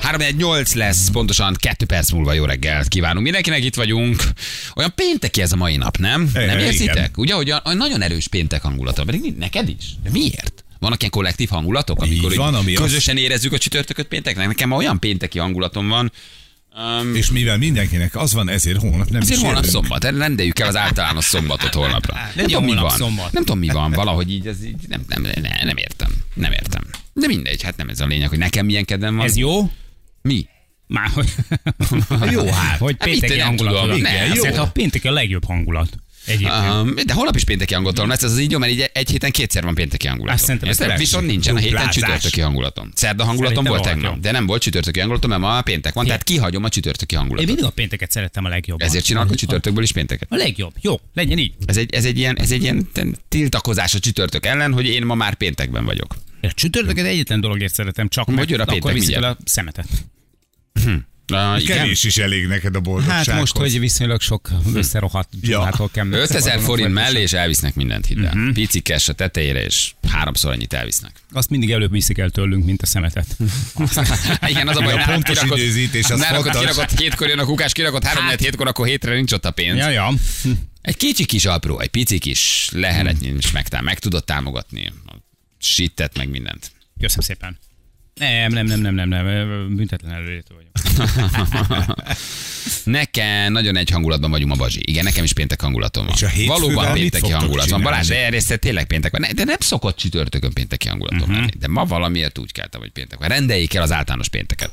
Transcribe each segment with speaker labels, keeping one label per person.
Speaker 1: 348 lesz, pontosan 2 perc múlva jó reggel kívánunk. Mindenkinek itt vagyunk. Olyan pénteki ez a mai nap, nem?
Speaker 2: E,
Speaker 1: nem
Speaker 2: igen.
Speaker 1: érzitek? Ugye, hogy olyan nagyon erős péntek hangulata, pedig ni- neked is. De miért? Vannak ilyen kollektív hangulatok, amikor
Speaker 2: Így van,
Speaker 1: így
Speaker 2: ami azt-
Speaker 1: közösen érezzük a csütörtököt pénteknek. Nekem ma olyan pénteki hangulatom van,
Speaker 2: És mivel mindenkinek az van, ezért holnap nem
Speaker 1: Ezért
Speaker 2: is
Speaker 1: holnap
Speaker 2: jövünk.
Speaker 1: szombat, rendeljük el az általános szombatot holnapra. Nem tudom, mi
Speaker 3: holnap
Speaker 1: van.
Speaker 3: szombat.
Speaker 1: Nem tudom, mi van, valahogy így, ez így nem, nem, nem, nem értem. Nem értem. De mindegy, hát nem ez a lényeg, hogy nekem milyen kedvem van.
Speaker 3: Ez jó?
Speaker 1: Mi?
Speaker 3: Már hogy... jó hát. Hogy
Speaker 1: Hát mit
Speaker 3: pénteki
Speaker 1: én nem
Speaker 3: hangulat.
Speaker 1: tudom,
Speaker 3: van.
Speaker 1: igen,
Speaker 3: Hát
Speaker 1: jó.
Speaker 3: szerintem a péntek a legjobb hangulat. Egyébként.
Speaker 1: Um, de holnap is pénteki hangulatom lesz, ez az így jó, mert így egy héten kétszer van pénteki hangulatom.
Speaker 3: Azt szerintem ez
Speaker 1: Érted?
Speaker 3: tetszik.
Speaker 1: Viszont nincsen a héten
Speaker 3: Duplázás.
Speaker 1: csütörtöki hangulatom. Szerda hangulatom
Speaker 3: Szerintem
Speaker 1: volt
Speaker 3: rohadt
Speaker 1: tegnap,
Speaker 3: jó.
Speaker 1: de nem volt csütörtöki hangulatom, mert ma péntek van, tehát kihagyom a csütörtöki
Speaker 3: Én
Speaker 1: hangulatot.
Speaker 3: mindig a pénteket szerettem a legjobban.
Speaker 1: Ezért csinálok a csütörtökből is pénteket.
Speaker 3: A legjobb. Jó, legyen így.
Speaker 1: Ez egy, ez egy ilyen, ez egy ilyen tiltakozás a csütörtök ellen, hogy én ma már péntekben vagyok.
Speaker 3: A csütörtöket egyetlen dologért szeretem, csak
Speaker 1: Hogy jön a péntek
Speaker 3: akkor viszik el a
Speaker 1: mindjárt?
Speaker 3: szemetet.
Speaker 1: Na, igen.
Speaker 2: Kevés is elég neked a boldogsághoz.
Speaker 3: Hát most, hogy viszonylag sok összerohadt családtól kell.
Speaker 1: 5000
Speaker 3: megszabadulnunk,
Speaker 1: Hm. forint
Speaker 3: vagy-
Speaker 1: mellé, és elvisznek mindent, hidd el.
Speaker 3: Mhm.
Speaker 1: Uh-huh. Pici cash a tetejére, és háromszor annyit elvisznek.
Speaker 3: Azt mindig előbb viszik el tőlünk, mint a szemetet.
Speaker 1: Igen, az a
Speaker 2: Meg
Speaker 1: baj,
Speaker 2: a
Speaker 1: nálad
Speaker 2: pontos
Speaker 1: kirakod-
Speaker 2: időzítés, az
Speaker 1: nálad
Speaker 2: fontos.
Speaker 1: kirakott hétkor jön a kukás, kirakott három hát. hétkor, akkor hétre nincs ott a pénz.
Speaker 3: Ja, Hm. ja.
Speaker 1: Egy kicsi kis apró, egy pici kis
Speaker 2: Hmm.
Speaker 1: leheletnyi, és megtám, meg tudod támogatni. A Sittet meg mindent.
Speaker 3: Köszönöm szépen. Nem, nem, nem, nem, nem, nem, büntetlen előjétől vagyok.
Speaker 1: Nekem nagyon egy hangulatban vagyunk ma, Bazsi. Igen, nekem is péntek hangulatom van.
Speaker 2: És a hétfővel
Speaker 1: Valóban
Speaker 2: mit
Speaker 1: pénteki
Speaker 2: fogtok
Speaker 1: hangulat van.
Speaker 2: csinálni?
Speaker 1: Balázs, de erre tényleg péntek van. Ne- De nem szokott csütörtökön pénteki hangulatom
Speaker 2: Mhm.
Speaker 1: uh-huh. lenni. De ma valamiért úgy keltem, hogy péntek van. Rendeljék el az általános pénteket.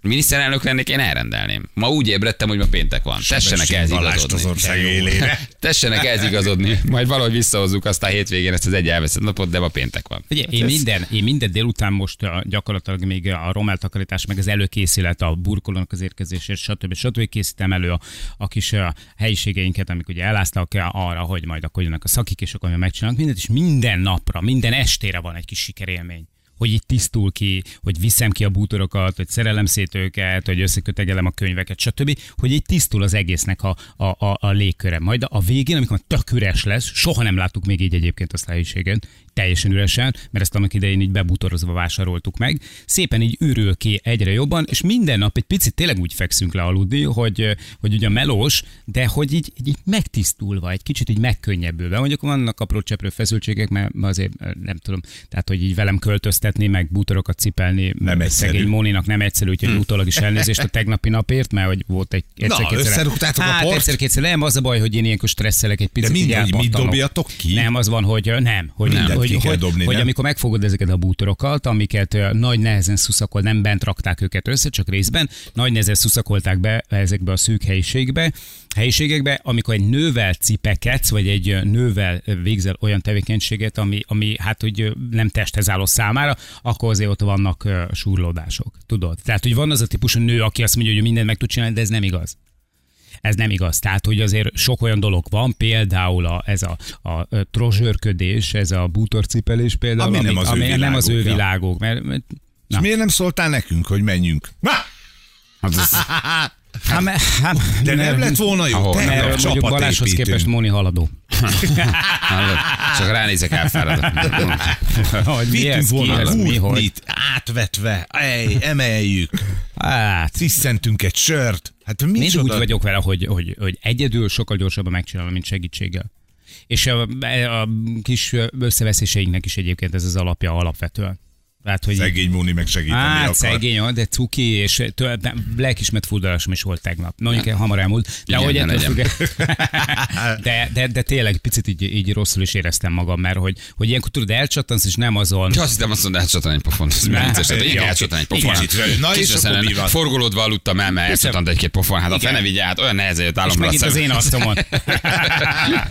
Speaker 1: Miniszterelnök lennék, én elrendelném. Ma úgy ébredtem, hogy ma péntek van. Tessenek
Speaker 2: Sebesség
Speaker 1: ehhez
Speaker 2: Balást az
Speaker 1: igazodni.
Speaker 2: ország élére.
Speaker 1: Tessenek ehhez igazodni. Majd valahogy visszahozzuk azt a hétvégén ezt az egy elveszett napot, de ma péntek van. Hát
Speaker 3: Ugye, én, minden, én minden délután most a, gyakorlatilag még a romeltakarítás, meg az előkészület, a burkolónak az érkezésért, stb. stb. készítem elő a, a kis a helyiségeinket, amik ugye eláztak arra, hogy majd akkor jönnek a szakik, és akkor mi megcsinálunk mindent, és minden napra, minden estére van egy kis sikerélmény hogy itt tisztul ki, hogy viszem ki a bútorokat, hogy szerelem szét őket, hogy összekötegelem a könyveket, stb. Hogy így tisztul az egésznek a, a, a, a légköre. Majd a végén, amikor tök üres lesz, soha nem láttuk még így egyébként azt a helyiségen, teljesen üresen, mert ezt annak idején így bebutorozva vásároltuk meg. Szépen így ürül ki egyre jobban, és minden nap egy picit tényleg úgy fekszünk le aludni, hogy, hogy ugye melós, de hogy így, így megtisztulva, egy kicsit így megkönnyebbülve. Mondjuk vannak apró cseprő feszültségek, mert azért eh, nem tudom, tehát hogy így velem költöztetni, meg bútorokat cipelni,
Speaker 2: Nem egyszerű. Hm.
Speaker 3: szegény Móninak nem egyszerű, úgyhogy utólag is elnézést a tegnapi napért, mert hogy volt egy egyszer-kétszer.
Speaker 2: összerúgtátok a
Speaker 3: hát,
Speaker 2: port?
Speaker 3: egyszer-kétszer, nem, az a baj, hogy én ilyenkor stresszelek egy picit.
Speaker 2: De
Speaker 3: így
Speaker 2: mindegy, mit
Speaker 3: elpattanok.
Speaker 2: dobjatok ki?
Speaker 3: Nem, az van, hogy eh, nem, hogy hogy,
Speaker 2: Mindent
Speaker 3: hogy,
Speaker 2: ki kell
Speaker 3: hogy,
Speaker 2: dobni,
Speaker 3: hogy
Speaker 2: nem?
Speaker 3: amikor megfogod ezeket a bútorokat, amiket ö, nagy nehezen szuszakol, nem bent rakták őket össze, csak részben, nagy nehezen szuszakolták be ezekbe a szűk helyiségbe, helyiségekbe, amikor egy nővel cipekedsz, vagy egy ö, nővel ö, végzel olyan tevékenységet, ami, ami hát, hogy ö, nem testhez álló számára, akkor azért ott vannak ö, súrlódások, tudod? Tehát, hogy van az a típusú nő, aki azt mondja, hogy ő mindent meg tud csinálni, de ez nem igaz ez nem igaz. Tehát, hogy azért sok olyan dolog van, például a, ez a, a trozsörködés, ez a bútorcipelés például,
Speaker 2: Ami nem az ő
Speaker 3: ami nem az ő
Speaker 2: világuk, ja.
Speaker 3: világok. Mert, mert,
Speaker 2: És
Speaker 3: Na.
Speaker 2: miért nem szóltál nekünk, hogy menjünk? Na,
Speaker 1: Hát ez,
Speaker 3: hát, mert- hát,
Speaker 2: de nem lett volna jó.
Speaker 1: Ahol?
Speaker 2: Te
Speaker 1: Mert
Speaker 2: a
Speaker 3: mert mondjuk Balázshoz
Speaker 2: csapatépítünk.
Speaker 3: képest Moni haladó.
Speaker 1: hallod? csak ránézek elfáradok.
Speaker 2: Hát,
Speaker 3: Hogy mi
Speaker 2: Vittünk
Speaker 3: ez, ki
Speaker 2: volna
Speaker 3: ez, mi, hogy?
Speaker 2: gurtnit, átvetve, ej, emeljük,
Speaker 3: Hát,
Speaker 2: sziszentünk egy sört. Hát
Speaker 3: Mindig
Speaker 2: micsoda?
Speaker 3: úgy vagyok vele, hogy, hogy, hogy egyedül sokkal gyorsabban megcsinálom, mint segítséggel. És a, a kis összeveszéseinknek is egyébként ez az alapja alapvetően. Tehát, hogy
Speaker 2: Szegény Móni meg segíteni
Speaker 3: Hát
Speaker 2: akar.
Speaker 3: szegény, ó, de cuki, és tő- de lelkismert furdalásom is volt tegnap. Na, Mondjuk hamar elmúlt, de
Speaker 1: Hát, Igen,
Speaker 3: hogy
Speaker 1: ne
Speaker 3: ettől
Speaker 1: legyen.
Speaker 3: függetlenül- de, de, de, tényleg picit így, így, rosszul is éreztem magam, mert hogy, hogy ilyenkor tudod, elcsattansz, és nem azon.
Speaker 1: Ja, azt hittem azt mondod, elcsatlan egy pofon. Ez
Speaker 3: Ne.
Speaker 1: milyen vicces, tehát én
Speaker 3: Ja.
Speaker 1: elcsatlan egy pofon.
Speaker 2: Igen.
Speaker 1: Hát,
Speaker 2: Na, és
Speaker 1: kicseszen
Speaker 2: akkor mi
Speaker 1: el-
Speaker 2: van?
Speaker 1: Forgolódva aludtam el, mert elcsatlant egy-két pofon. Hát a
Speaker 3: Igen.
Speaker 1: fene vigye át, olyan nehezen jött
Speaker 3: És
Speaker 1: álomra.
Speaker 3: megint az én arcomon.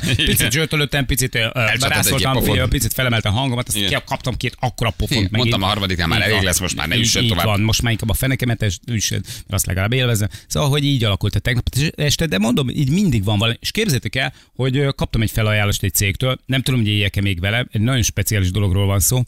Speaker 3: picit
Speaker 1: Igen.
Speaker 3: zsörtölöttem, picit ö,
Speaker 1: egy
Speaker 3: rászoltam,
Speaker 1: pofont.
Speaker 3: ö, picit felemeltem a hangomat, aztán
Speaker 1: Igen.
Speaker 3: ki- kaptam két akkora pofont.
Speaker 1: Igen,
Speaker 3: megint.
Speaker 1: mondtam a harmadiknál, már
Speaker 3: Így
Speaker 1: elég
Speaker 3: van.
Speaker 1: lesz, most már ne
Speaker 3: Így-
Speaker 1: üssön
Speaker 3: így
Speaker 1: tovább.
Speaker 3: Van, most már inkább a fenekemet és üssön, mert azt legalább élvezem. Szóval, hogy így alakult a tegnap este, de mondom, így mindig van valami. És képzeljétek el, hogy ö, kaptam egy felajánlást egy cégtől, nem tudom, hogy éljek-e még vele, egy nagyon speciális dologról van szó.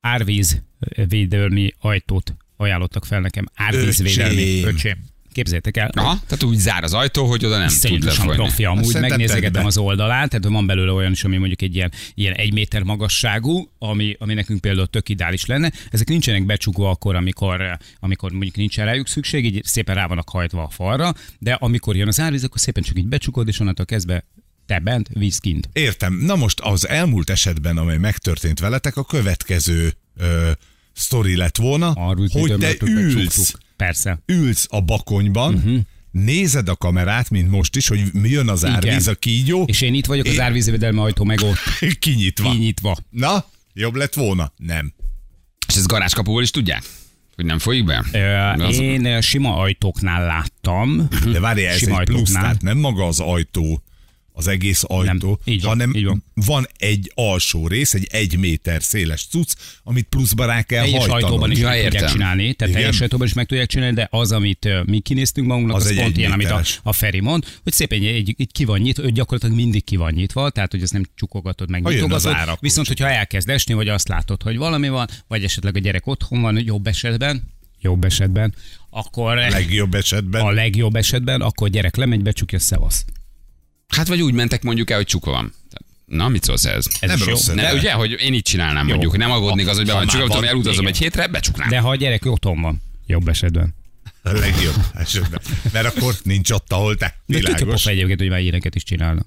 Speaker 3: Árvízvédelmi ajtót ajánlottak fel nekem. Árvízvédelmi.
Speaker 2: Öcsém.
Speaker 3: Öcsém. Képzeljétek el.
Speaker 1: Aha, tehát úgy zár az ajtó, hogy oda nem tud
Speaker 3: Iszonyatosan
Speaker 1: lefolyni.
Speaker 3: profi amúgy,
Speaker 2: Szerintem tedd
Speaker 3: megnézegetem
Speaker 2: be.
Speaker 3: az oldalát, tehát van belőle olyan is, ami mondjuk egy ilyen, ilyen egy méter magasságú, ami, ami nekünk például tök ideális lenne. Ezek nincsenek becsukva akkor, amikor, amikor mondjuk nincs rájuk szükség, így szépen rá vannak hajtva a falra, de amikor jön az árvíz, akkor szépen csak így becsukod, és onnantól kezdve te bent, víz kint.
Speaker 2: Értem. Na most az elmúlt esetben, amely megtörtént veletek, a következő ö, sztori lett volna,
Speaker 3: Árvíz
Speaker 2: hogy te
Speaker 3: ütömöttük,
Speaker 2: ülsz,
Speaker 3: becsuktuk. Persze.
Speaker 2: ülsz a bakonyban,
Speaker 3: Mhm.
Speaker 2: uh-huh. nézed a kamerát, mint most is, hogy mi jön az árvíz, a kígyó,
Speaker 3: És én itt vagyok, az
Speaker 2: Én-
Speaker 3: árvízvédelmi ajtó meg ott,
Speaker 2: kinyitva.
Speaker 3: kinyitva.
Speaker 2: Na, jobb lett volna? Nem.
Speaker 1: És ez garázskapuból is tudják? Hogy nem folyik be?
Speaker 3: Ö,
Speaker 1: Az-
Speaker 3: Én ö, sima ajtóknál láttam.
Speaker 2: De várjál, ez
Speaker 3: Sima
Speaker 2: egy plusz,
Speaker 3: ajtóknál.
Speaker 2: tehát nem maga az ajtó, az egész ajtó,
Speaker 3: Nem, így van,
Speaker 2: hanem
Speaker 3: így van.
Speaker 2: van egy alsó rész, egy egy méter széles cucc, amit pluszba rá kell
Speaker 3: Teljes
Speaker 2: hajtanod.
Speaker 3: ajtóban is
Speaker 1: Ja,
Speaker 3: meg tudják
Speaker 1: értem.
Speaker 3: csinálni, tehát
Speaker 2: Igen.
Speaker 3: teljes ajtóban is meg tudják csinálni, de az, amit ö, mi kinéztünk magunknak, az,
Speaker 2: Az
Speaker 3: az
Speaker 2: egy
Speaker 3: pont ilyen, amit a,
Speaker 2: egyméteres.
Speaker 3: a Feri mond, hogy szépen egy, egy ki van nyitva, ő gyakorlatilag mindig ki van nyitva, tehát hogy ezt nem csukogatod meg,
Speaker 2: Ha jön az
Speaker 3: nyitogatod.
Speaker 2: árak,
Speaker 3: Viszont, hogyha elkezd esni, vagy azt látod, hogy valami van, vagy esetleg a gyerek otthon van, jobb esetben, jobb esetben, akkor
Speaker 2: Legjobb esetben.
Speaker 3: a legjobb esetben, akkor gyerek lemegy, becsukja, szevasz.
Speaker 1: Hát vagy úgy mentek mondjuk el, hogy csukva van. Na, mit szólsz ez?
Speaker 3: Ez
Speaker 2: Nem
Speaker 3: is jó.
Speaker 2: rossz ötlet.
Speaker 1: Ne,
Speaker 2: de-
Speaker 1: ugye, hogy én így csinálnám mondjuk, hogy nem aggódnék az, hogy be
Speaker 2: Ha
Speaker 1: van
Speaker 2: már
Speaker 1: csukva, tudom,
Speaker 2: van,
Speaker 1: elutazom
Speaker 2: igen.
Speaker 1: egy hétre, becsuknám.
Speaker 3: De ha a gyerek otthon van, jobb esetben.
Speaker 2: A legjobb esetben. Mert akkor nincs ott, ahol te.
Speaker 3: De tök jó
Speaker 2: Világos.
Speaker 3: pofa egyébként, hogy már ilyeneket is csinálnak.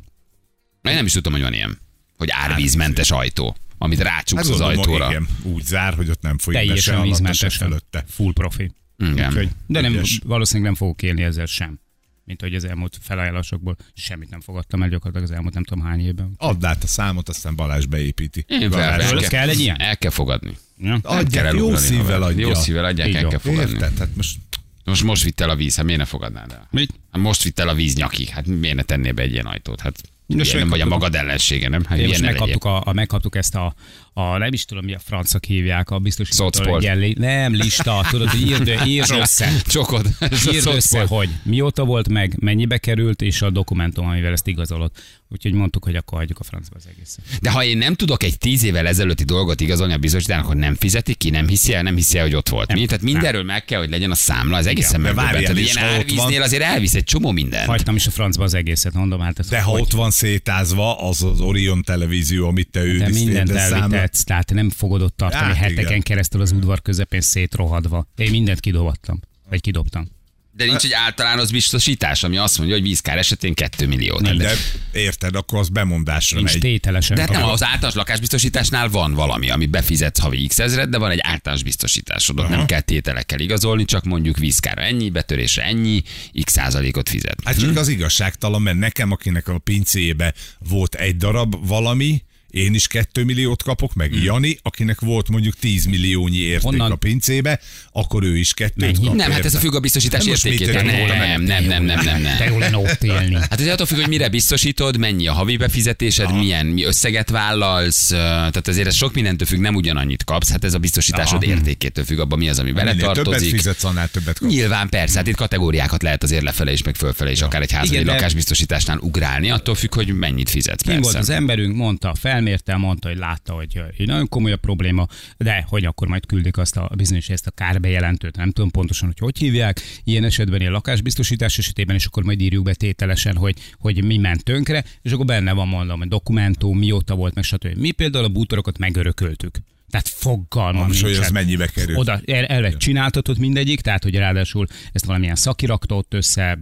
Speaker 1: Én nem is tudtam, hogy van ilyen. Hogy árvízmentes ajtó, amit rácsuksz az
Speaker 2: Hát gondolom,
Speaker 1: ajtóra.
Speaker 2: Igen, úgy zár, hogy ott nem folyik be se
Speaker 3: Teljesen
Speaker 2: alatta, se
Speaker 3: vízmentes
Speaker 2: felőtte.
Speaker 3: Full profi.
Speaker 1: Igen.
Speaker 3: Úgyhogy, de nem,
Speaker 2: Ügyes.
Speaker 3: valószínűleg nem fogok élni ezzel sem. Mint hogy az elmúlt felajánlásokból semmit nem fogadtam el gyakorlatilag az elmúlt nem tudom hány évben.
Speaker 2: Add át a számot, aztán Balázs beépíti.
Speaker 1: Én fel,
Speaker 3: Balázs,
Speaker 1: el,
Speaker 3: ez kell egy ilyen?
Speaker 1: el kell fogadni.
Speaker 3: Ja?
Speaker 1: Nem kell
Speaker 2: Adják, jó
Speaker 1: elugrani,
Speaker 2: szívvel
Speaker 1: haver.
Speaker 2: adja.
Speaker 1: Jó szívvel adják,
Speaker 3: Így
Speaker 1: el
Speaker 3: van.
Speaker 1: kell fogadni.
Speaker 2: Érted? Hát most
Speaker 1: Most most vitt el a víz, hát miért ne fogadnád el?
Speaker 3: Mit?
Speaker 1: Hát most vitt el a víz nyakig, hát miért ne tennél be egy ilyen ajtót? Hát
Speaker 3: most
Speaker 1: ilyen, nem vagy a
Speaker 3: megkaptuk.
Speaker 1: magad ellensége, nem? Hát
Speaker 3: Én most
Speaker 1: ilyen ne legyél.
Speaker 3: megkaptuk, a, a, megkaptuk ezt a, a, nem is tudom, mi a francok hívják, a biztos
Speaker 1: Szocpol.
Speaker 3: nem lista, tudod, hogy írd, írd össze.
Speaker 1: Csokod. Ez a
Speaker 3: Írd
Speaker 1: szocpol.
Speaker 3: össze, hogy mióta volt meg, mennyibe került, és a dokumentum, amivel ezt igazolod. Úgyhogy mondtuk, hogy akkor hagyjuk a francba az egészet.
Speaker 1: De ha én nem tudok egy tíz évvel ezelőtti dolgot igazolni a bizottságnak, akkor nem fizeti ki, nem hiszi el, nem hiszi el, hogy ott volt.
Speaker 3: Nem.
Speaker 1: Mi? Tehát mindenről meg kell, hogy legyen a számla, ez egészen
Speaker 2: de
Speaker 1: megdöbbentő.
Speaker 2: várjál
Speaker 1: Tehát
Speaker 2: is,
Speaker 1: Ilyen
Speaker 2: ha ott
Speaker 1: árvíznél
Speaker 2: van.
Speaker 1: azért elvisz egy csomó mindent.
Speaker 3: Hagytam is a francba az egészet, mondom, hát ez
Speaker 2: De ha ott van szétázva az az Orion televízió, amit te
Speaker 3: Te
Speaker 2: őriztél,
Speaker 3: mindent
Speaker 2: de számla.
Speaker 3: elvitetsz, tehát nem fogod ott tartani
Speaker 2: Hát,
Speaker 3: hát, heteken
Speaker 2: igen.
Speaker 3: keresztül az udvar közepén szétrohadva. Én mindent kidobattam, vagy kidobtam.
Speaker 1: De nincs egy általános biztosítás, ami azt mondja, hogy vízkár esetén 2 millió. Tehát
Speaker 2: De érted, akkor az bemondásra
Speaker 3: Nincs
Speaker 2: megy.
Speaker 3: tételesen.
Speaker 1: De hát nem,
Speaker 3: Akkor-
Speaker 1: az általános lakásbiztosításnál van valami, ami befizetsz havi x ezeret, de van egy általános biztosításod, ott nem kell tételekkel igazolni, csak mondjuk vízkára ennyi, betörésre ennyi, x százalékot fizet.
Speaker 2: Hát csak az igazságtalan, mert nekem, akinek a pincéjébe volt egy darab valami, én is 2 milliót kapok, meg
Speaker 1: Hm.
Speaker 2: hmm. Jani, akinek volt mondjuk 10 milliónyi érték
Speaker 3: Honnan?
Speaker 2: Honnan? a pincébe, akkor ő is kettőt kap.
Speaker 1: Nem, hát ez a
Speaker 2: érted?
Speaker 1: függ a biztosítás
Speaker 2: Hát most mit
Speaker 1: értékétől.
Speaker 2: tegyünk volna
Speaker 1: Nem,
Speaker 2: meg?
Speaker 1: nem, nem, nem, nem, nem.
Speaker 3: De jó lenne ott élni.
Speaker 1: Hát ugye attól függ, hogy mire biztosítod, mennyi a havi befizetésed, Aha. milyen mi összeget vállalsz, ö, tehát azért ez sok mindentől függ, nem ugyanannyit kapsz, hát ez a biztosításod Aha. értékétől függ, abban mi az, ami vele
Speaker 2: Hát Minél többet
Speaker 1: tartozik.
Speaker 2: fizetsz, annál többet kapsz.
Speaker 1: Nyilván persze, hát itt kategóriákat lehet azért lefele is, meg fölfele is, akár egy házadi
Speaker 3: Igen, de-
Speaker 1: lakásbiztosításnál ugrálni, attól függ, hogy mennyit fizetsz.
Speaker 3: Kim volt
Speaker 1: persze.
Speaker 3: az emberünk, mondta, felmérte, mondta, hogy látta, hogy ö, nagyon komoly a probléma, de hogy akkor majd küldik azt a bizonyos ezt a kárbejelentőt, nem tudom pontosan, hogy hogy hívják, ilyen esetben ilyen lakásbiztosítás esetében, és akkor majd írjuk be tételesen, hogy, hogy mi ment tönkre, és akkor benne van mondom, a dokumentum, mióta volt, meg stb. Mi például a bútorokat megörököltük. Tehát fogalmam
Speaker 2: Most, hogy
Speaker 3: nincsen.
Speaker 2: az mennyibe kerül.
Speaker 3: Oda el, el lett csináltatott mindegyik, tehát hogy ráadásul ezt valamilyen szakirakta ott össze,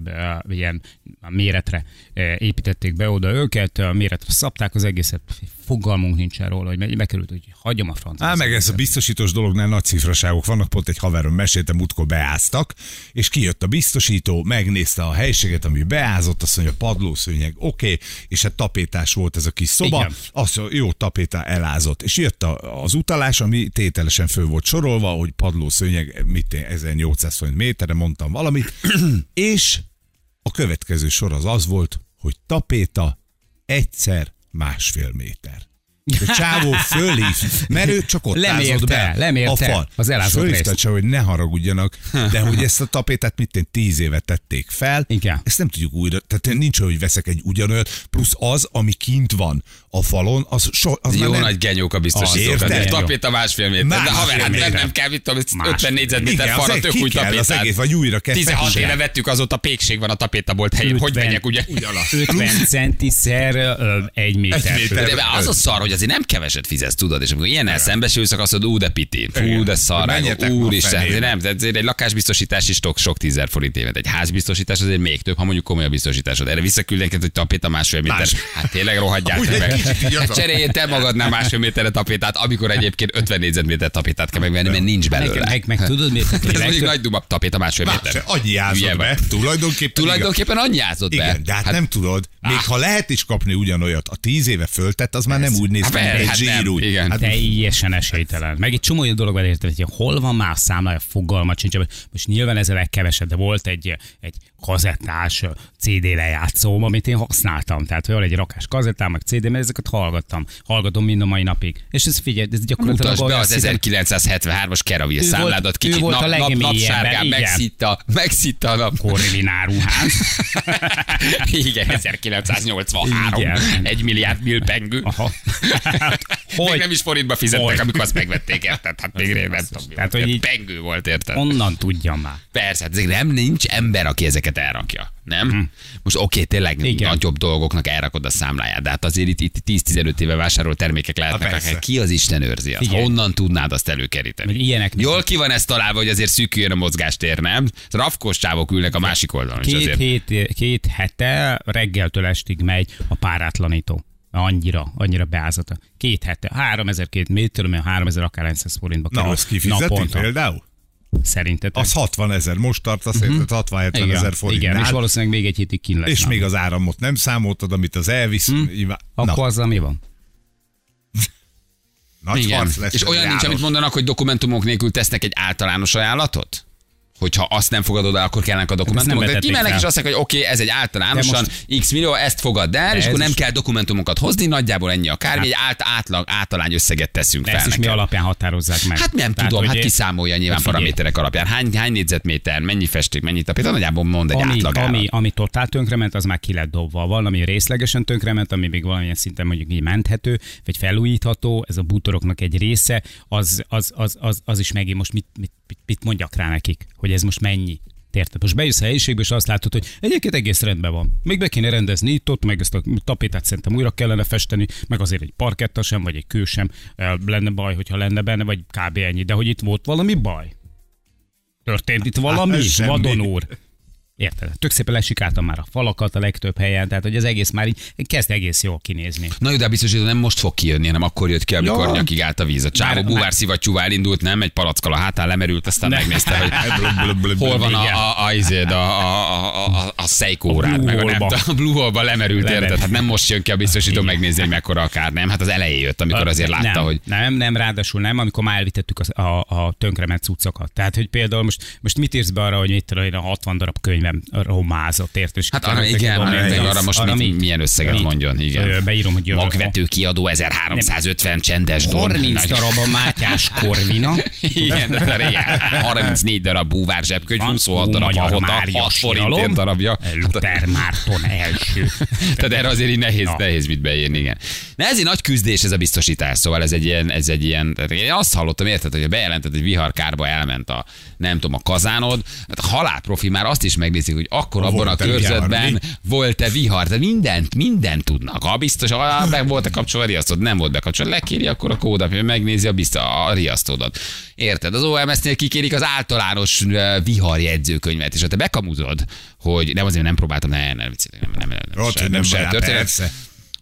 Speaker 3: ö, ilyen méretre ö, építették be oda őket, ö, méretre szabták az egészet, fogalmunk nincsen róla, hogy mennyibe került, hogy hagyom a francba.
Speaker 2: Á, meg ez a biztosítós dolognál nagy cifraságok vannak, pont egy haverom mesélte, múltkor beáztak, és kijött a biztosító, megnézte a helyiséget, ami beázott, azt mondja, padlószőnyeg, oké, okay, és hát tapétás volt ez a kis szoba,
Speaker 3: Igen.
Speaker 2: Igen. azt mondja, jó, tapéta elázott, és jött a, az utalás, ami tételesen föl volt sorolva, hogy padlószőnyeg, mit én, 1800 forint méterre, mondtam valamit, és a következő sor az az volt, hogy tapéta egyszer másfél méter. A csávó fölhív, mert ő csak ott
Speaker 3: Lemérte,
Speaker 2: ázott be
Speaker 3: lemérte
Speaker 2: a fal.
Speaker 3: az elázott
Speaker 2: Fölhívta
Speaker 3: részt.
Speaker 2: csak, hogy ne haragudjanak, de hogy ezt a tapétát mit tén, tíz éve tették fel,
Speaker 3: Igen.
Speaker 2: ezt nem tudjuk újra, tehát nincs olyan, hogy veszek egy ugyanolyat, plusz az, ami kint van a falon, az, so, az már
Speaker 1: Jó
Speaker 2: nem,
Speaker 1: nagy genyók a
Speaker 2: Az,
Speaker 1: biztosítók.
Speaker 2: érted?
Speaker 1: Tehát
Speaker 3: Jó.
Speaker 1: tapéta másfél méter. De
Speaker 2: Másfél
Speaker 1: haver, hát
Speaker 2: méter.
Speaker 1: nem kell, mit tudom, ezt
Speaker 3: Másfél.
Speaker 1: 50 négyzetméter
Speaker 2: Igen,
Speaker 1: falra
Speaker 2: az
Speaker 1: tök
Speaker 2: ki
Speaker 1: új
Speaker 2: kell, az
Speaker 1: tapétát.
Speaker 2: egész, vagy újra kell
Speaker 1: 16
Speaker 2: festeni.
Speaker 1: éve vettük, azóta pékség van a tapétabolt helyén. Hogy
Speaker 3: Ötven.
Speaker 1: megyek, ugye? Ugyanaz.
Speaker 3: 50 centiszer ö, egy méter.
Speaker 2: méter.
Speaker 1: De az a szar, hogy azért nem keveset fizetsz, tudod, és amikor ilyennel szembesülsz, akkor azt mondod, ú, de piti, fú, de szar,
Speaker 2: Menjetek ma
Speaker 1: úristen,
Speaker 2: fenébe.
Speaker 1: azért nem, de azért egy lakásbiztosítás is sok, sok tízer forint évente, egy házbiztosítás azért még több, ha mondjuk komoly a biztosításod. Erre visszaküldenként, hogy tapéta másfél méter.
Speaker 2: Más.
Speaker 1: Hát tényleg rohadjál
Speaker 2: Amúgy egy
Speaker 1: meg.
Speaker 2: kicsit így az a-
Speaker 1: Cseréljél te magadnál másfél méterre tapétát, amikor egyébként 50 négyzetméter tapétát kell megvenni, mert nincs
Speaker 3: Meg,
Speaker 1: belőle.
Speaker 3: meg, meg tudod, miért?
Speaker 1: Ez mondjuk nagy duma, tapéta másfél
Speaker 2: Más,
Speaker 1: méter.
Speaker 2: annyi
Speaker 1: Hülye
Speaker 2: jázott
Speaker 1: vagy.
Speaker 2: be, tulajdonképpen, igaz.
Speaker 1: Tulajdonképpen anyjázott be.
Speaker 2: Igen, de hát, nem tudod, még ha lehet is kapni ugyanolyat, a tíz éve föltett, az már nem úgy néz ki,
Speaker 1: Hát
Speaker 2: mint egy
Speaker 1: hát nem,
Speaker 2: zsírú.
Speaker 1: igen.
Speaker 2: Hát
Speaker 3: Teljesen esélytelen. Meg egy csomó olyan dolog van érte, hogy hol van már számlája, fogalma sincs. Most nyilván ez a legkevesebb, de volt egy, egy kazettás CD lejátszóm, amit én használtam. Tehát hogy van egy rakás kazettám, meg CD, mert ezeket hallgattam. Hallgatom mind a mai napig. És ez figyelj, ez gyakorlatilag
Speaker 1: Mutasd be
Speaker 3: olyan
Speaker 1: az
Speaker 3: szinten-
Speaker 1: 1973-as Keravil
Speaker 3: Ő
Speaker 1: számládat,
Speaker 3: volt-
Speaker 1: kicsit
Speaker 3: ő volt a
Speaker 1: nap, nap,
Speaker 3: legmélyebben,
Speaker 1: napsárgán,
Speaker 3: igen.
Speaker 1: megszitta, megszitta a nap.
Speaker 3: korvinár ruhás.
Speaker 1: Igen, 1983.
Speaker 3: Igen.
Speaker 1: Egy milliárd milpengő.
Speaker 3: Aha.
Speaker 1: Még
Speaker 3: Hogy?
Speaker 1: nem is forintba fizettek,
Speaker 3: Hogy?
Speaker 1: amikor azt megvették, érted? Hát még rég nem tudom.
Speaker 3: Tehát,
Speaker 1: Tehát,
Speaker 3: hogy
Speaker 1: hogy
Speaker 3: így-
Speaker 1: pengő volt, érted?
Speaker 3: Onnan tudja már.
Speaker 1: Persze, hát ezek nem nincs ember, aki ezeket elrakja, nem? Most oké, tényleg
Speaker 3: Hm. Igen.
Speaker 1: nagyobb dolgoknak elrakod a számláját, de hát azért itt, itt 10-15 éve vásárolt
Speaker 3: Hát
Speaker 1: termékek lehetnek,
Speaker 2: persze.
Speaker 1: akár ki az Isten őrzi azt?
Speaker 3: Figyelj.
Speaker 1: Honnan tudnád azt előkeríteni?
Speaker 3: Meg ilyenek
Speaker 1: Jól ki van ezt találva, hogy azért szűküljön a mozgástér, nem? Rafkos csávok ülnek a másik oldalon is
Speaker 3: Két,
Speaker 1: azért.
Speaker 3: hét, két hete reggeltől estig megy a párátlanító. Annyira, annyira beázata. Két hete. 3000 két méter, mert 3000 akár 100 forintba
Speaker 2: Na,
Speaker 3: kerül.
Speaker 2: azt kifizetik
Speaker 3: Naponta.
Speaker 2: például?
Speaker 3: Szerintetek?
Speaker 2: Az 60 ezer, most tartasz, uh-huh. 60-70
Speaker 3: igen,
Speaker 2: ezer
Speaker 3: igen, és
Speaker 2: forintnál. És,
Speaker 3: valószínűleg még egy hétig kín lesz.
Speaker 2: Hát- és
Speaker 3: nála.
Speaker 2: még az áramot nem számoltad, amit az Elvis... Hmm? Nyilván,
Speaker 3: Akkor
Speaker 2: na,
Speaker 3: azzal mi van?
Speaker 2: nagy
Speaker 1: Igen.
Speaker 2: harc lesz.
Speaker 1: És
Speaker 2: ez
Speaker 1: olyan nincs,
Speaker 2: János.
Speaker 1: amit mondanak, hogy dokumentumok nélkül tesznek egy általános ajánlatot? hogyha azt nem fogadod el, akkor
Speaker 3: Hát
Speaker 1: kellnek a dokumentumok.
Speaker 3: nem
Speaker 1: Tehát
Speaker 3: vetették
Speaker 1: kimennek
Speaker 3: fel.
Speaker 1: és azt mondják, hogy oké, okay, ez egy általánosan
Speaker 3: De
Speaker 1: x millió, ezt fogad el, és
Speaker 3: ez
Speaker 1: akkor nem
Speaker 3: is- Hát-
Speaker 1: kell dokumentumokat hozni, nagyjából ennyi a kár, egy át, átlag, általány összeget teszünk
Speaker 3: De
Speaker 1: fel
Speaker 3: ezt is mi
Speaker 1: neked.
Speaker 3: alapján határozzák meg?
Speaker 1: Hát nem tudom,
Speaker 3: hogy
Speaker 1: hát
Speaker 3: én-
Speaker 1: kiszámolja nyilván
Speaker 3: Figyelj.
Speaker 1: paraméterek alapján. Hány, hány négyzetméter, mennyi festék, mennyi tapét, nagyjából mond egy
Speaker 3: ami,
Speaker 1: átlag
Speaker 3: ami, ami totál tönkrement, az már ki lett dobva. Valami részlegesen tönkrement, ami még valamilyen szinten mondjuk így menthető, vagy felújítható, ez a bútoroknak egy része, az, az, az, az, az is megint most mit, mit, mit- mit mondjak rá nekik, hogy ez most mennyi. Érted? Most bejössz a helyiségbe, és azt látod, hogy egyébként egész rendben van. Még be kéne rendezni itt, ott, meg ezt a tapétát szerintem újra kellene festeni, meg azért egy parketta sem, vagy egy kő sem eh, lenne baj, hogyha lenne benne, vagy kb. ennyi. De hogy itt volt valami baj? Történt itt valami?
Speaker 2: Hát, semmi.
Speaker 3: Vadon úr. Érted? Tök szépen lesikáltam már a falakat a legtöbb helyen, tehát hogy az egész már így kezd egész jól kinézni.
Speaker 1: Na jó, de biztos, hogy nem most fog kijönni, hanem akkor jött ki, amikor
Speaker 2: Ja.
Speaker 1: nyakig állt a víz. A csávó
Speaker 3: Már-
Speaker 1: buvár szivattyúval indult, nem? Egy palackkal a hátán lemerült, aztán megnézte, hogy
Speaker 2: Blub, blub, blub,
Speaker 1: hol van a,
Speaker 3: Igen.
Speaker 1: a, a, izéd, a, a, a, a, a Seiko-rád,
Speaker 3: Blue
Speaker 1: meg a, nem,
Speaker 3: Hole-ba.
Speaker 1: a Blue Hole-ba lemerült,
Speaker 3: Lemerült.
Speaker 1: érted? Hát nem most jön ki a biztosító megnézni, hogy mekkora a kár, nem? Hát az elején jött, amikor azért látta,
Speaker 3: nem,
Speaker 1: hogy
Speaker 3: Nem, nem, ráadásul nem, amikor már elvitettük a, a, a tönkrement cuccokat. Tehát, hogy például most, most mit írsz be arra, hogy mit tudom én, a 60 darab könyvem romázott, érted? És
Speaker 1: Hát
Speaker 3: kikerült
Speaker 1: arra
Speaker 3: neki
Speaker 1: igen,
Speaker 3: valami
Speaker 1: arra,
Speaker 2: egy
Speaker 1: igen,
Speaker 3: pénz.
Speaker 1: arra most arra mit, milyen összeget
Speaker 3: Mit?
Speaker 1: mondjon,
Speaker 3: Ö,
Speaker 1: igen.
Speaker 3: Beírom, hogy
Speaker 1: Magvető kiadó 1350 csendes don.
Speaker 3: 30
Speaker 1: Nagy-
Speaker 3: darab a Mátyás Korvina.
Speaker 1: Igen, de de igen, 34 darab búvár zsebkönyv,
Speaker 3: Van
Speaker 1: 26 darab
Speaker 3: Magyar
Speaker 1: ahota,
Speaker 3: Mária
Speaker 1: 6
Speaker 3: Siralom,
Speaker 1: forintért darabja.
Speaker 3: Luther Márton első.
Speaker 1: Tehát erre azért így nehéz,
Speaker 3: Na.
Speaker 1: nehéz mit beírni, igen. Na ez egy nagy küzdés ez a biztosítás, szóval ez egy ilyen, ez egy ilyen, tehát én azt hallottam, érted, hogy bejelentett, hogy viharkárba elment a, nem tudom, a kazánod, hát a halálprofi már azt is megnézik, hogy akkor abban a
Speaker 2: Volt-e vihar,
Speaker 1: körzetben
Speaker 2: mi?
Speaker 1: volt-e vihar, de mindent, mindent tudnak. Ha biztos, ha meg volt-e kapcsolva a riasztód, nem volt bekapcsolva, lekéri, akkor a kódapja megnézi a, biztos, a riasztódat. Érted? Az OMS-nél kikérik az általános ö, viharjegyzőkönyvet, és ha te bekamuzod, hogy nem azért nem próbáltam, ne, ne, viccelek, nem, nem, nem, nem,
Speaker 2: Ott,
Speaker 1: se-
Speaker 2: hogy nem
Speaker 1: nem, se
Speaker 2: barát,
Speaker 1: történet.
Speaker 2: persze.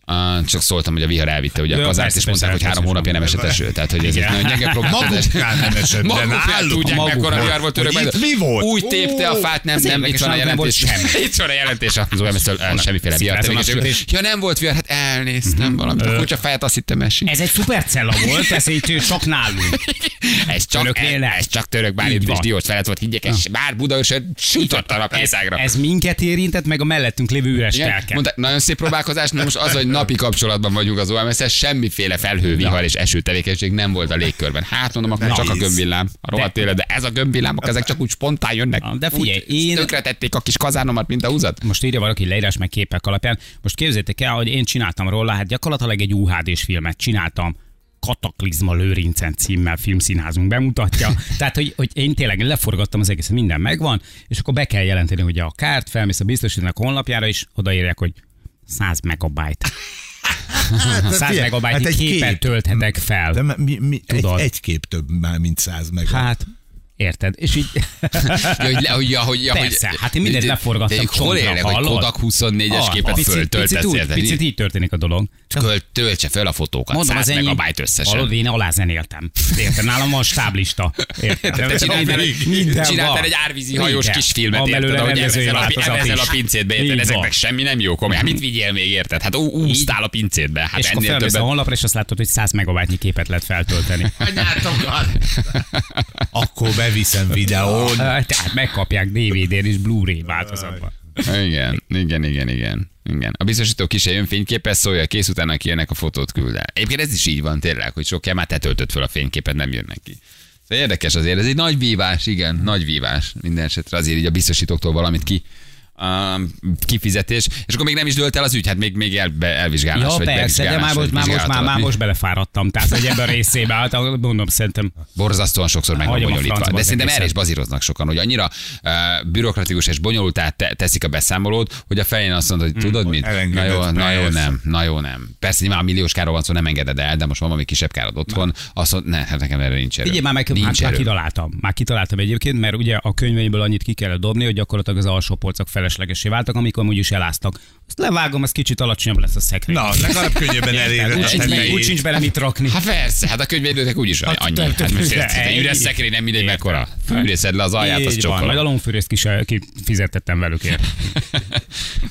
Speaker 1: Ah, Csak szóltam, hogy a vihar elvitte ugye
Speaker 3: Ja,
Speaker 1: a kazárt,
Speaker 3: persze,
Speaker 1: és mondták,
Speaker 3: persze,
Speaker 1: hogy három hónapja
Speaker 3: persze,
Speaker 1: nem
Speaker 2: persze.
Speaker 1: esett eső. Tehát, hogy ez egy
Speaker 3: Igen.
Speaker 1: nagyon gyenge problémás.
Speaker 2: Maguknál nem esett, de
Speaker 1: Maguknál
Speaker 2: náluk,
Speaker 1: tudják, mekkora
Speaker 2: maguknál.
Speaker 1: vihar volt
Speaker 2: Hogy
Speaker 1: örökben.
Speaker 2: itt mi volt?
Speaker 1: Úgy tépte a
Speaker 2: Ó,
Speaker 1: fát, nem,
Speaker 3: ez
Speaker 1: nem, itt
Speaker 3: érdekes,
Speaker 1: van a
Speaker 3: nem volt
Speaker 1: jelentés.
Speaker 3: semmi.
Speaker 1: Itt van a jelentés, az OMS-től eh, semmiféle vihar.
Speaker 3: Szikrázzon a
Speaker 1: tevékenység.
Speaker 3: sülés.
Speaker 1: Ja, nem volt vihar, hát elnéztem valamit. A kutya fejet azt hittem esik.
Speaker 3: Ez egy szupercella volt, ez itt csak nálunk.
Speaker 1: Ez csak,
Speaker 3: Töröknél nem.
Speaker 1: ez csak török
Speaker 3: Így
Speaker 1: bálint és
Speaker 3: van.
Speaker 1: diós felett volt, higgyek, és bár Budaörsön sütött a nap
Speaker 3: ez,
Speaker 1: észágra.
Speaker 3: ez minket érintett, meg a mellettünk lévő üres
Speaker 1: Igen,
Speaker 3: telket.
Speaker 1: Mondták, nagyon szép próbálkozás, mert most az, hogy na napi kapcsolatban vagyunk az OMS-es, semmiféle felhővihar és esőtevékenység nem volt a légkörben. Hát mondom, akkor
Speaker 2: Nehéz.
Speaker 1: csak a gömbvillám, a rohadt élet, de ez a gömbvillámok, ezek csak úgy spontán jönnek.
Speaker 3: De figyelj,
Speaker 1: úgy,
Speaker 3: én-
Speaker 1: Tönkretették a kis kazánomat, mint a húzat.
Speaker 3: Most írja valaki leírás meg képek alapján. Most képzétek el, hogy én csináltam róla, hát gyakorlatilag egy UHD-s filmet csináltam. Kataklizma Lőrincen címmel filmszínházunk bemutatja. Tehát, hogy, hogy én tényleg leforgattam az egészet, minden megvan, és akkor be kell jelenteni ugye a kárt, felmész a biztosítónak honlapjára, és odaírják, hogy 100 megabyte. 100
Speaker 2: figyelj,
Speaker 3: megabyte hát
Speaker 2: hát egy
Speaker 3: képet
Speaker 2: kép.
Speaker 3: tölthetek fel.
Speaker 2: De mi, mi, egy,
Speaker 3: Tudod.
Speaker 2: egy kép több már, mint száz meg.
Speaker 3: Hát, érted? És így...
Speaker 1: Ja, hogy, le, hogy, ja, hogy, ja,
Speaker 3: Persze,
Speaker 1: hogy,
Speaker 3: hát én mindent
Speaker 1: de-
Speaker 3: leforgattam
Speaker 1: de ők Hol
Speaker 3: csontra,
Speaker 1: élnek, hogy
Speaker 3: hallod? Ah,
Speaker 1: Kodak 24-es képet
Speaker 3: Picit-
Speaker 1: föltöltesz?
Speaker 3: picit úgy-
Speaker 1: érted?
Speaker 3: Picit így történik a dolog.
Speaker 1: Költ, töltse fel a fotókat, Mondom, 100 megabyte összesen.
Speaker 3: Hallod, én alázenéltem. Érted, nálam van stáblista. Érted?
Speaker 1: Te csináltál,
Speaker 3: Minden-
Speaker 1: egy,
Speaker 3: minden
Speaker 1: csináltál
Speaker 3: van.
Speaker 1: egy árvízi hajós
Speaker 3: Minden.
Speaker 1: kisfilmet,
Speaker 3: Van
Speaker 1: érted,
Speaker 3: belőle
Speaker 1: ahogy
Speaker 3: rendezői
Speaker 1: evezel a,
Speaker 3: változat
Speaker 1: evezel
Speaker 3: is.
Speaker 1: a pincédbe, érted,
Speaker 3: Így
Speaker 1: ezeknek
Speaker 3: van.
Speaker 1: semmi nem jó, komolyan. Hát Mit vigyél még, érted? Hát ú- úsztál a pincédbe, hát
Speaker 3: És akkor
Speaker 1: ennél
Speaker 3: felmész a
Speaker 1: többet.
Speaker 3: honlapra, és azt látod, hogy 100 megabájtnyi képet lehet feltölteni.
Speaker 2: Akkor beviszem videón.
Speaker 3: Tehát megkapják DVD-n és Blu-ray változatban.
Speaker 1: Igen, igen, igen, igen. Igen. A biztosító ki se jön fényképpel, szólja, kész utána kijönnek a fotót küld el. Egyébként ez is így van tényleg, hogy sok már te töltött fel a fényképet, nem jönnek ki. Szóval érdekes azért, ez egy nagy vívás, igen, nagy vívás. Minden esetre azért így a biztosítóktól valamit ki um, kifizetés, és akkor még nem is dölt el az ügy, hát még, még el, be, elvizsgálás,
Speaker 3: Ja,
Speaker 1: vagy
Speaker 3: persze, de
Speaker 1: bevizsgálás,
Speaker 3: már
Speaker 1: vagy
Speaker 3: most, már, most, már,
Speaker 1: vizsgálat
Speaker 3: már
Speaker 1: alatt.
Speaker 3: most belefáradtam. Tehát, hogy ebben a részébe állt, ahol mondom, szerintem
Speaker 1: Borzasztóan sokszor meg van
Speaker 3: Hagyom a
Speaker 1: bonyolítva.
Speaker 3: francba
Speaker 1: De
Speaker 3: az
Speaker 1: szerintem erre
Speaker 3: egészet.
Speaker 1: is bazíroznak sokan, hogy annyira uh, bürokratikus és bonyolultá te- teszik a beszámolót, hogy a fején azt mondod,
Speaker 3: Hm,
Speaker 1: hogy tudod mit? Na
Speaker 2: elengedett,
Speaker 1: jó, na jó,
Speaker 2: persze.
Speaker 1: nem, na jó, nem. Persze nyilván a milliós káról van szó, nem engeded el, de most van valami kisebb károd otthon, azt mondod, ne, hát nekem erre nincs erő.
Speaker 3: Figyelj, már, meg, hát- már,
Speaker 1: nincs
Speaker 3: már
Speaker 1: erő.
Speaker 3: kitaláltam. Már kitaláltam egyébként, mert ugye a könyveiből annyit ki kellett dobni, hogy gyakorlatilag az alsó polcok feleslegesé váltak, amikor amúgy is eláztak. Azt levágom, ez kicsit alacsonyabb lesz a szekrény.
Speaker 2: Na, legalább könnyebben eléred
Speaker 3: úgy,
Speaker 2: a
Speaker 3: sincs, bele- úgy
Speaker 2: tetejét.
Speaker 3: sincs bele mit rakni.
Speaker 1: Hát persze, hát a könyvédőtek úgyis
Speaker 3: Hát
Speaker 1: annyi.
Speaker 3: te- te-
Speaker 1: Hát most
Speaker 3: te-
Speaker 1: érted, egy üres szekrény nem mindegy mekkora. Fűrészed le az alját, az
Speaker 3: Így van, meg a
Speaker 1: csokkolat.
Speaker 3: lomfűrészt kis kifizettettem velük. ért.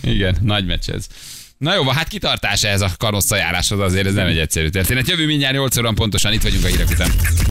Speaker 1: Igen, nagy meccs ez. Na jó, van, hát kitartás ez a karosszajáráshoz azért, ez nem egy egyszerű történet. Jövő mindjárt 8 óra pontosan, itt vagyunk a hírek után.